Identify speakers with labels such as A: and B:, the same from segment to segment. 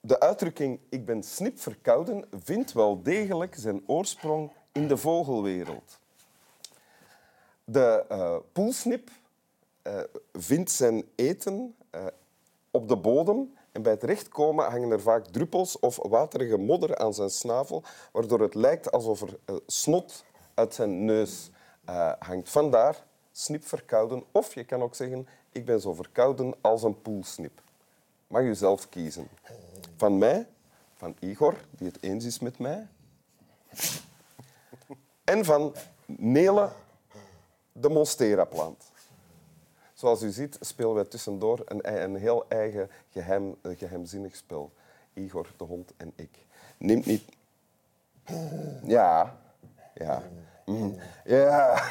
A: de uitdrukking ik ben snipverkouden vindt wel degelijk zijn oorsprong in de vogelwereld. De eh, poelsnip eh, vindt zijn eten eh, op de bodem en bij het terechtkomen hangen er vaak druppels of waterige modder aan zijn snavel, waardoor het lijkt alsof er eh, snot uit zijn neus eh, hangt. Vandaar snip verkouden of je kan ook zeggen ik ben zo verkouden als een poelsnip. Mag u zelf kiezen. Van mij, van Igor, die het eens is met mij, en van Nele de Monstera-plant. Zoals u ziet spelen wij tussendoor een, ei- een heel eigen geheim, eh, geheimzinnig spel. Igor, de hond en ik. Neemt niet... Ja. Ja. Mm. Ja.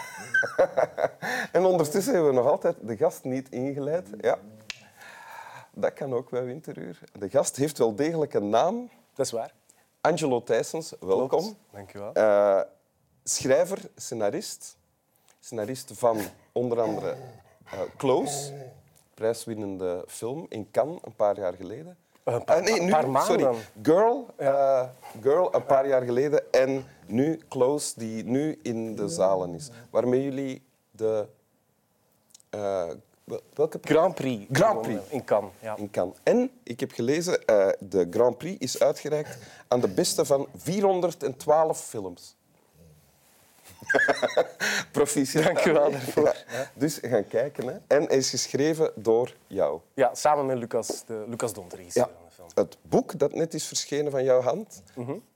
A: en ondertussen hebben we nog altijd de gast niet ingeleid. Ja. Dat kan ook bij winteruur. De gast heeft wel degelijk een naam.
B: Dat is waar.
A: Angelo Thijsens, welkom.
B: Dank u wel.
A: Eh, schrijver, scenarist. Scenarist van onder andere eh, Close, prijswinnende film in Cannes een paar jaar geleden.
B: Eh, Een paar-
A: Ah, nee, nu,
B: paar maanden.
A: Sorry, Girl, eh, Girl een paar jaar geleden en nu Close, die nu in de zalen is. Waarmee jullie de... eh, wel- welke
B: Grand Prix.
A: Grand Prix.
B: gewonnen In Cannes, ja.
A: in Cannes. En ik heb gelezen, eh, de Grand Prix is uitgereikt aan de beste van 412 films. Proficiat.
B: Dank u wel daarvoor.
A: Ja. Dus gaan kijken. Hè. En is geschreven door jou.
B: ja. Samen met Lucas, de, Lucas Dont, regisseur van de film.
A: Het boek dat net is verschenen van jouw hand,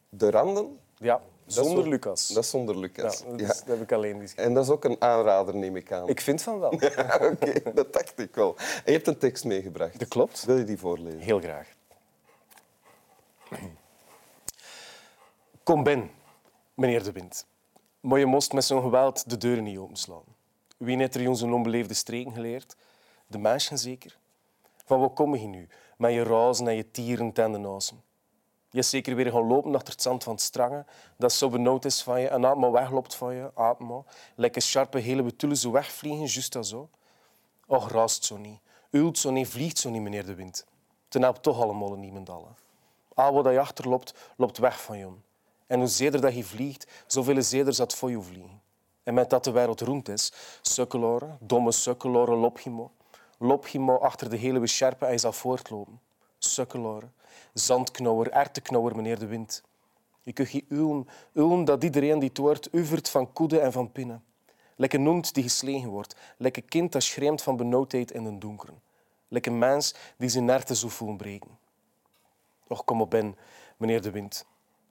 A: De Randen.
B: Ja,
A: dat is
B: Mhm. zonder
A: zo-
B: Lucas.
A: Dat is zonder
B: ja,
A: Lucas.
B: dat,
A: Ja.
B: is- dat heb ik alleen geschreven.
A: En dat is ook een aanrader, neem ik aan.
B: Ik vind van wel.
A: Oké, dat dacht ik wel. En je hebt een tekst meegebracht.
B: Dat klopt.
A: Wil je die voorlezen?
B: Heel graag. Kom ben, meneer de wind. Maar je moest met zo'n geweld de deuren niet openslaan. Wie net er ons een onbeleefde streken geleerd? De mensen zeker. Van waar kom je nu? Met je razen en je tieren en de nazen. Je is zeker weer gaan lopen achter het zand van het strangen, dat zo benauwd is van je en atma wegloopt van je, atma. Lekker sharpe hele betullen zo wegvliegen, juist als zo. Och, raast zo niet. Uilt zo niet, vliegt zo niet, meneer de wind. Ten helpt toch allemaal niemand alle. Al wat je achterloopt, loopt weg van je. En hoe zeder dat je vliegt, zoveel zeder zat voor je vliegen. En met dat de wereld rond is, sukkeloren, domme sukkeloren, loop je maar. Loop je maar achter de hele scherpe en je zal voortlopen. Sukkeloren, zandknauwer, erteknauwer, meneer de wind. Je kunt je uwen, uwen dat iedereen die het hoort uvert van koede en van pinnen. Lekker noemt die geslegen wordt. Lekker kind dat schreeuwt van benauwdheid in den donkeren. Lekker mens die zijn nerten zo voelen breken. Och, kom op ben, meneer de wind.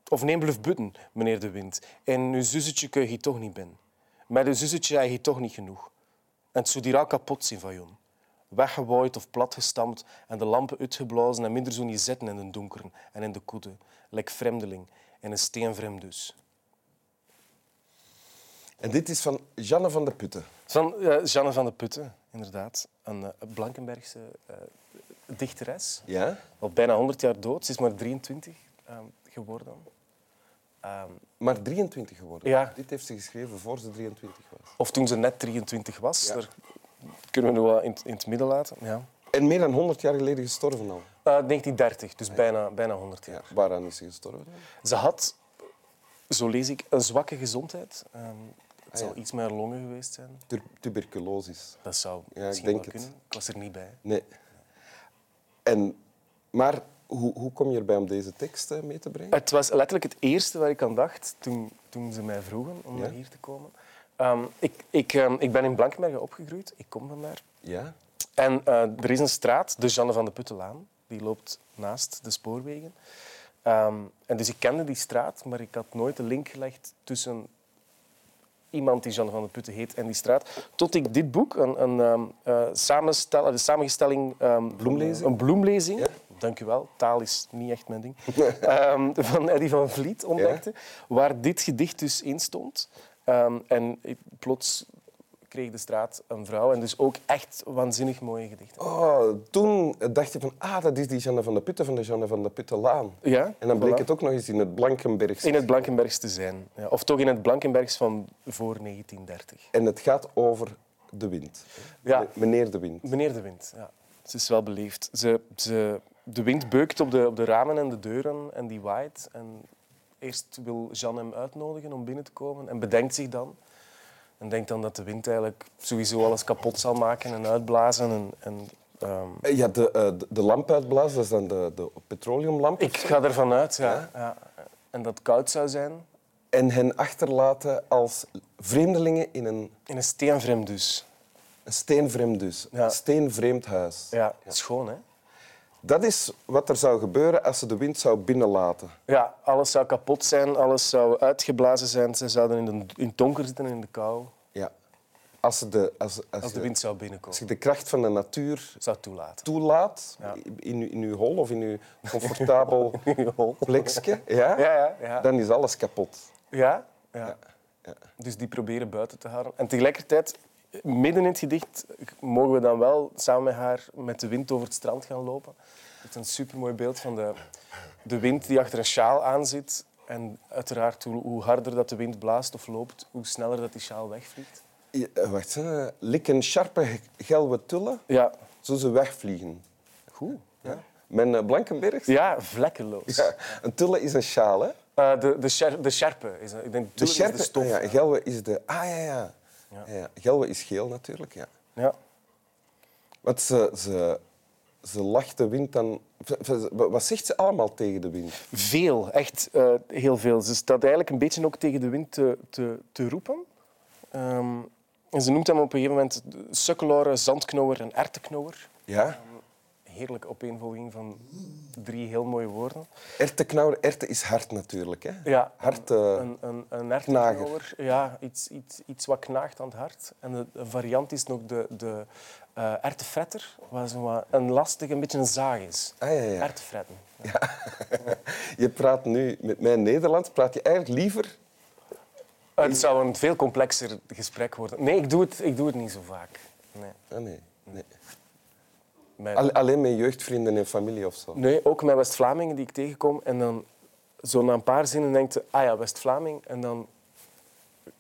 B: Of neem bluf butten, meneer de wind. En uw zusetje kun je toch niet ben. Met uw zusetje heb je toch niet genoeg. En het zou die raak kapot zien van jon. Weggewaaid of platgestampt en de lampen uitgeblazen en minder zo'n je zitten in den donkeren en in de koede. Lek vreemdeling en een steenvreemd dus.
A: En dit is van Janne van der Putten.
B: Van eh, Jeanne van de Putten, inderdaad. Een eh, Blankenbergse eh, dichteres.
A: Ja?
B: Al bijna 100 jaar dood. Ze is maar 23 ehm, geworden. Ehm,
A: Maar 23 geworden.
B: Ja.
A: Dit heeft ze geschreven voor ze 23 was.
B: of toen ze net 23 was.
A: Ja.
B: Daar kunnen we nu wel in, het- in het midden laten. Ja.
A: En meer dan 100 jaar geleden gestorven al.
B: Eh, 1930, dus bijna, bijna 100 jaar.
A: Ja. Waaraan is ze gestorven?
B: Ze had, zo lees ik, een zwakke gezondheid. Ehm, het
A: Ah, ja.
B: zal iets met haar longen geweest zijn.
A: Tur- tuberculosis.
B: Dat zou
A: Ja, ik
B: misschien
A: denk
B: wel
A: het.
B: kunnen. Ik was er niet bij.
A: Nee. En, maar hoe, hoe kom je erbij om deze tekst eh, mee te brengen?
B: Het was letterlijk het eerste waar ik aan dacht toen, toen ze mij vroegen om
A: Ja?
B: naar hier te komen. Ehm, ik, ik, ehm, ik ben in Blankenbergen opgegroeid. Ik kom van daar.
A: Ja.
B: En eh, er is een straat, de Jeanne van de Puttelaan. Die loopt naast de spoorwegen. Ehm, en dus ik kende die straat, maar ik had nooit de link gelegd tussen iemand die Jeanne van de Putten heet en die straat. Tot ik dit boek, een, een, ehm, eh, samenstel, de samengestelling... ehm,
A: Bloemlezing?
B: Een bloemlezing.
A: Ja.
B: Dank u wel. Taal is niet echt mijn ding. Ehm, van Eddy van Vliet ontdekte. Waar dit gedicht dus in stond. Ehm, en ik- plots kreeg de straat een vrouw. En dus ook echt waanzinnig mooie gedichten.
A: Oh, toen dacht je van, ah, dat is die Janne van der Putten van de Janne van der Puttenlaan.
B: Ja,
A: En dan bleek
B: voilà.
A: het ook nog eens in het Blankenbergs.
B: In het Blankenbergs te zijn. Ja, of toch in het Blankenbergs van voor 1930.
A: En het gaat over de wind.
B: Ja.
A: Me- Meneer de wind.
B: Meneer De Wind, ja. Ze is wel beleefd. Ze, ze de wind beukt op de, op de ramen en de deuren en die waait. En eerst wil Jeanne hem uitnodigen om binnen te komen en bedenkt zich dan. En denkt dan dat de wind eigenlijk sowieso alles kapot zal maken en uitblazen. En, en, ehm,
A: Eh, Ja, de, eh, de- de lamp uitblazen, dat is dan de, de petroleumlamp.
B: ik ga ervan uit, ja. ja. En dat het koud zou zijn.
A: En hen achterlaten als vreemdelingen in een
B: In een steenvrem dus.
A: een steenvreemd dus.
B: Ja.
A: steenvreemd huis.
B: Ja, schoon hè?
A: Dat is wat er zou gebeuren als ze de wind zou binnenlaten.
B: Ja, alles zou kapot zijn, alles zou uitgeblazen zijn. Ze zouden in, de, in het donker zitten en in de kou.
A: Ja. Als, ze de, als, als,
B: Als de
A: je-
B: wind zou
A: als
B: binnenkomen,
A: je de kracht van de natuur
B: zou toelaten.
A: toelaat
B: Ja.
A: in, uw- in uw hol of in uw comfortabel plekje, ja,
B: Ja, ja, ja.
A: dan is alles kapot.
B: Ja? Ja. Dus die proberen buiten te houden. En tegelijkertijd, midden in het gedicht, mogen we dan wel samen met haar met de wind over het strand gaan lopen. Het is een supermooi beeld van de, de wind die achter een sjaal aan zit. En uiteraard, hoe, hoe harder dat de wind blaast of loopt, hoe sneller dat die sjaal wegvliegt.
A: Ja, eh, wacht, hè. likken scherpe gelwe tullen,
B: Ja,
A: zo ze wegvliegen.
B: goed.
A: Ja. Mijn eh, Blankenberg,
B: Ja, vlekkeloos.
A: ja, een tulle is een sjaal, hè?
B: Eh, de, de, sjer- de sjerpe is ik denk,
A: De
B: toen is
A: sjerpe,
B: de stof.
A: ah, ja, gelwe is de... Ah, ja, ja.
B: Ja.
A: ja. ja. Gelwe is geel natuurlijk, ja.
B: Ja.
A: Want ze, ze, ze lacht de wind dan... ze- ze- Wat zegt ze allemaal tegen de wind?
B: Veel, echt eh, heel veel. Ze staat eigenlijk een beetje ook tegen de wind te, te, te roepen. Ehm, en ze noemt hem op een gegeven moment sukkeloren, zandknower en erteknower.
A: Ja?
B: Heerlijke opeenvolging van drie heel mooie woorden.
A: Ertenknauwer, erte is hard natuurlijk, hè?
B: Ja,
A: Hart, eh,
B: een, een, een erteknower. Ja, iets, iets, iets wat knaagt aan het hart. En de, een variant is nog de, de eh ertefretter, wat zo wat een lastig, een beetje een zaag is.
A: Ah, ja, ja.
B: Ertefretten.
A: Je praat nu met mij Nederlands, praat je eigenlijk liever...
B: Eh, Het zou een veel complexer gesprek worden. Nee, ik doe het, ik doe het niet zo vaak. Nee.
A: Ah, nee. nee.
B: Met-
A: Al- alleen met jeugdvrienden en familie of zo.
B: nee, ook met West-Vlamingen die ik tegenkom. En dan zo na een paar zinnen denkt je, ah ja, West-Vlaming. En dan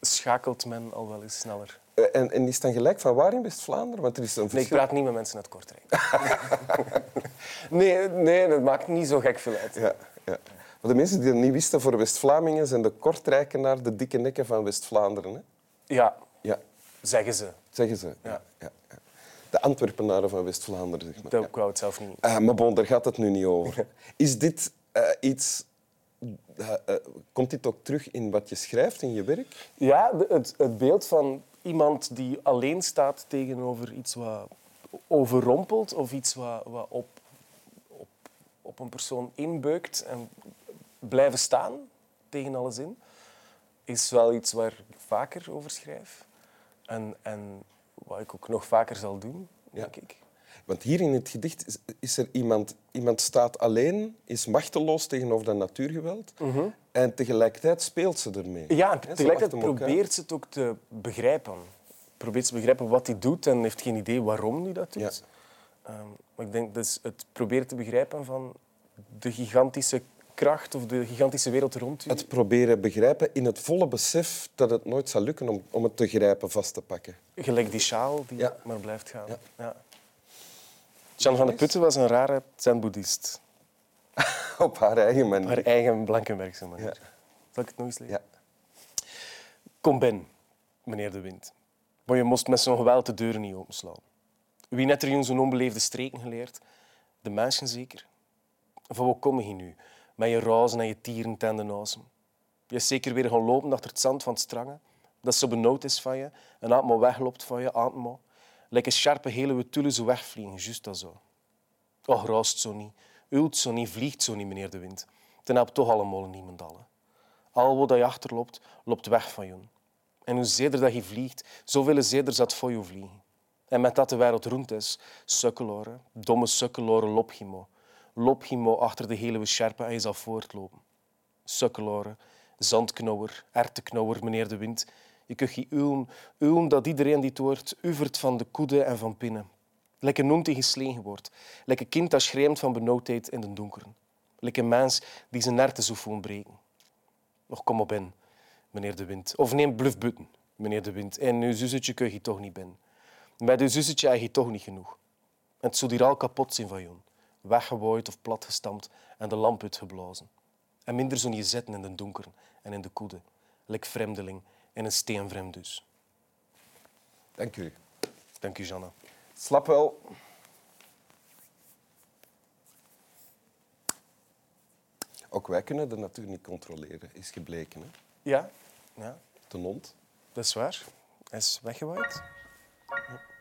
B: schakelt men al wel eens sneller.
A: Eh, En, en is dan gelijk van waar in West-Vlaanderen? Want er is een
B: Nee, ik
A: verschil.
B: praat niet met mensen uit Kortrijk. nee, nee, dat maakt niet zo gek veel uit.
A: Ja, ja. Want de mensen die dat niet wisten, voor West-Vlamingen zijn de Kortrijkenaar de dikke nekken van West-Vlaanderen. hè?
B: Ja,
A: Ja,
B: zeggen ze.
A: zeggen ze.
B: Ja.
A: Ja, ja. De Antwerpenaren van West-Vlaanderen, zeg maar.
B: Dat wou het zelf niet.
A: Ah, maar bon, daar gaat het nu niet over. Is dit eh, iets... eh, eh, komt dit ook terug in wat je schrijft, in je werk?
B: Ja, de- het, het beeld van iemand die alleen staat tegenover iets wat overrompelt of iets wat, wat op, op, op een persoon inbeukt en blijven staan tegen alle zin, is wel iets waar ik vaker over schrijf. En, en wat ik ook nog vaker zal doen,
A: Ja.
B: denk ik.
A: Want hier in het gedicht is, is er iemand... Iemand staat alleen, is machteloos tegenover dat natuurgeweld. En tegelijkertijd speelt ze ermee.
B: Mhm. Ja,
A: Hè,
B: en
A: ze
B: tegelijkertijd
A: wachten elkaar.
B: probeert ze het ook te begrijpen. Probeert ze te begrijpen wat hij doet en heeft geen idee waarom hij dat doet.
A: Ja.
B: Ehm, maar ik denk dus het proberen te begrijpen van de gigantische kracht of de gigantische wereld rond u.
A: Het proberen begrijpen in het volle besef dat het nooit zal lukken om, om het te grijpen, vast te pakken.
B: Gelijk die sjaal die
A: Ja.
B: maar blijft gaan.
A: Ja.
B: Ja. Jan van de Putten was een rare zen-boeddhist.
A: Op haar eigen
B: Op
A: manier.
B: haar eigen Blankenbergse manier.
A: Ja.
B: Zal ik het nog eens lezen?
A: Ja.
B: Kom ben, meneer de Wind. Maar je moest met zo'n geweld de deuren niet openslaan. Wie net er ons een onbeleefde streken geleerd, de mensen zeker. Van wat kom je nu? Met je rozen en je tieren tendenhuizen. Je is zeker weer gaan lopen achter het zand van het strangen, dat zo benauwd is van je, en atmo wegloopt van je, atmo. Lekker scherpe hele wetullen zo wegvliegen, juist als zo. Och, Oh, roast zo niet, ult zo niet, vliegt zo niet, meneer de wind. Dan heb toch allemaal niemand alle. Al wat je achterloopt, loopt weg van je. En hoe zeder dat je vliegt, zoveel zeder zat voor je vliegen. En met dat de wereld rond is, sukkeloren, domme sukkeloren, loop je maar. Loop je maar achter de hele scherpe en je zal voortlopen. Sukkeloren, zandknauwer, erteknauwer, meneer de wind. Je kunt je uwen, uwen dat iedereen die het hoort, uvert van de koede en van pinnen. Lekker noem die geslegen wordt. Lekker kind dat schreeuwt van benauwdheid in de donkeren. Lekker mens die zijn nerten zo voelt breken. Och, kom op in, meneer de Wind. Of neem bluffbutten, meneer de Wind. En uw zusetje kun je toch niet ben. Met uw zusetje heb je toch niet genoeg. En het zou hier al kapot zijn van jou. weggewaaid of platgestampt en de lamp uitgeblazen. En minder zo'n je zitten in de donker en in de koede, lik vreemdeling in een steenvreemd dus.
A: Dank u.
B: Dank u, Janna.
A: Slap wel. Ook wij kunnen de natuur niet controleren, is gebleken. Hè?
B: Ja? Ja,
A: De hond.
B: dat is waar. Hij is weggewaaid. Ja.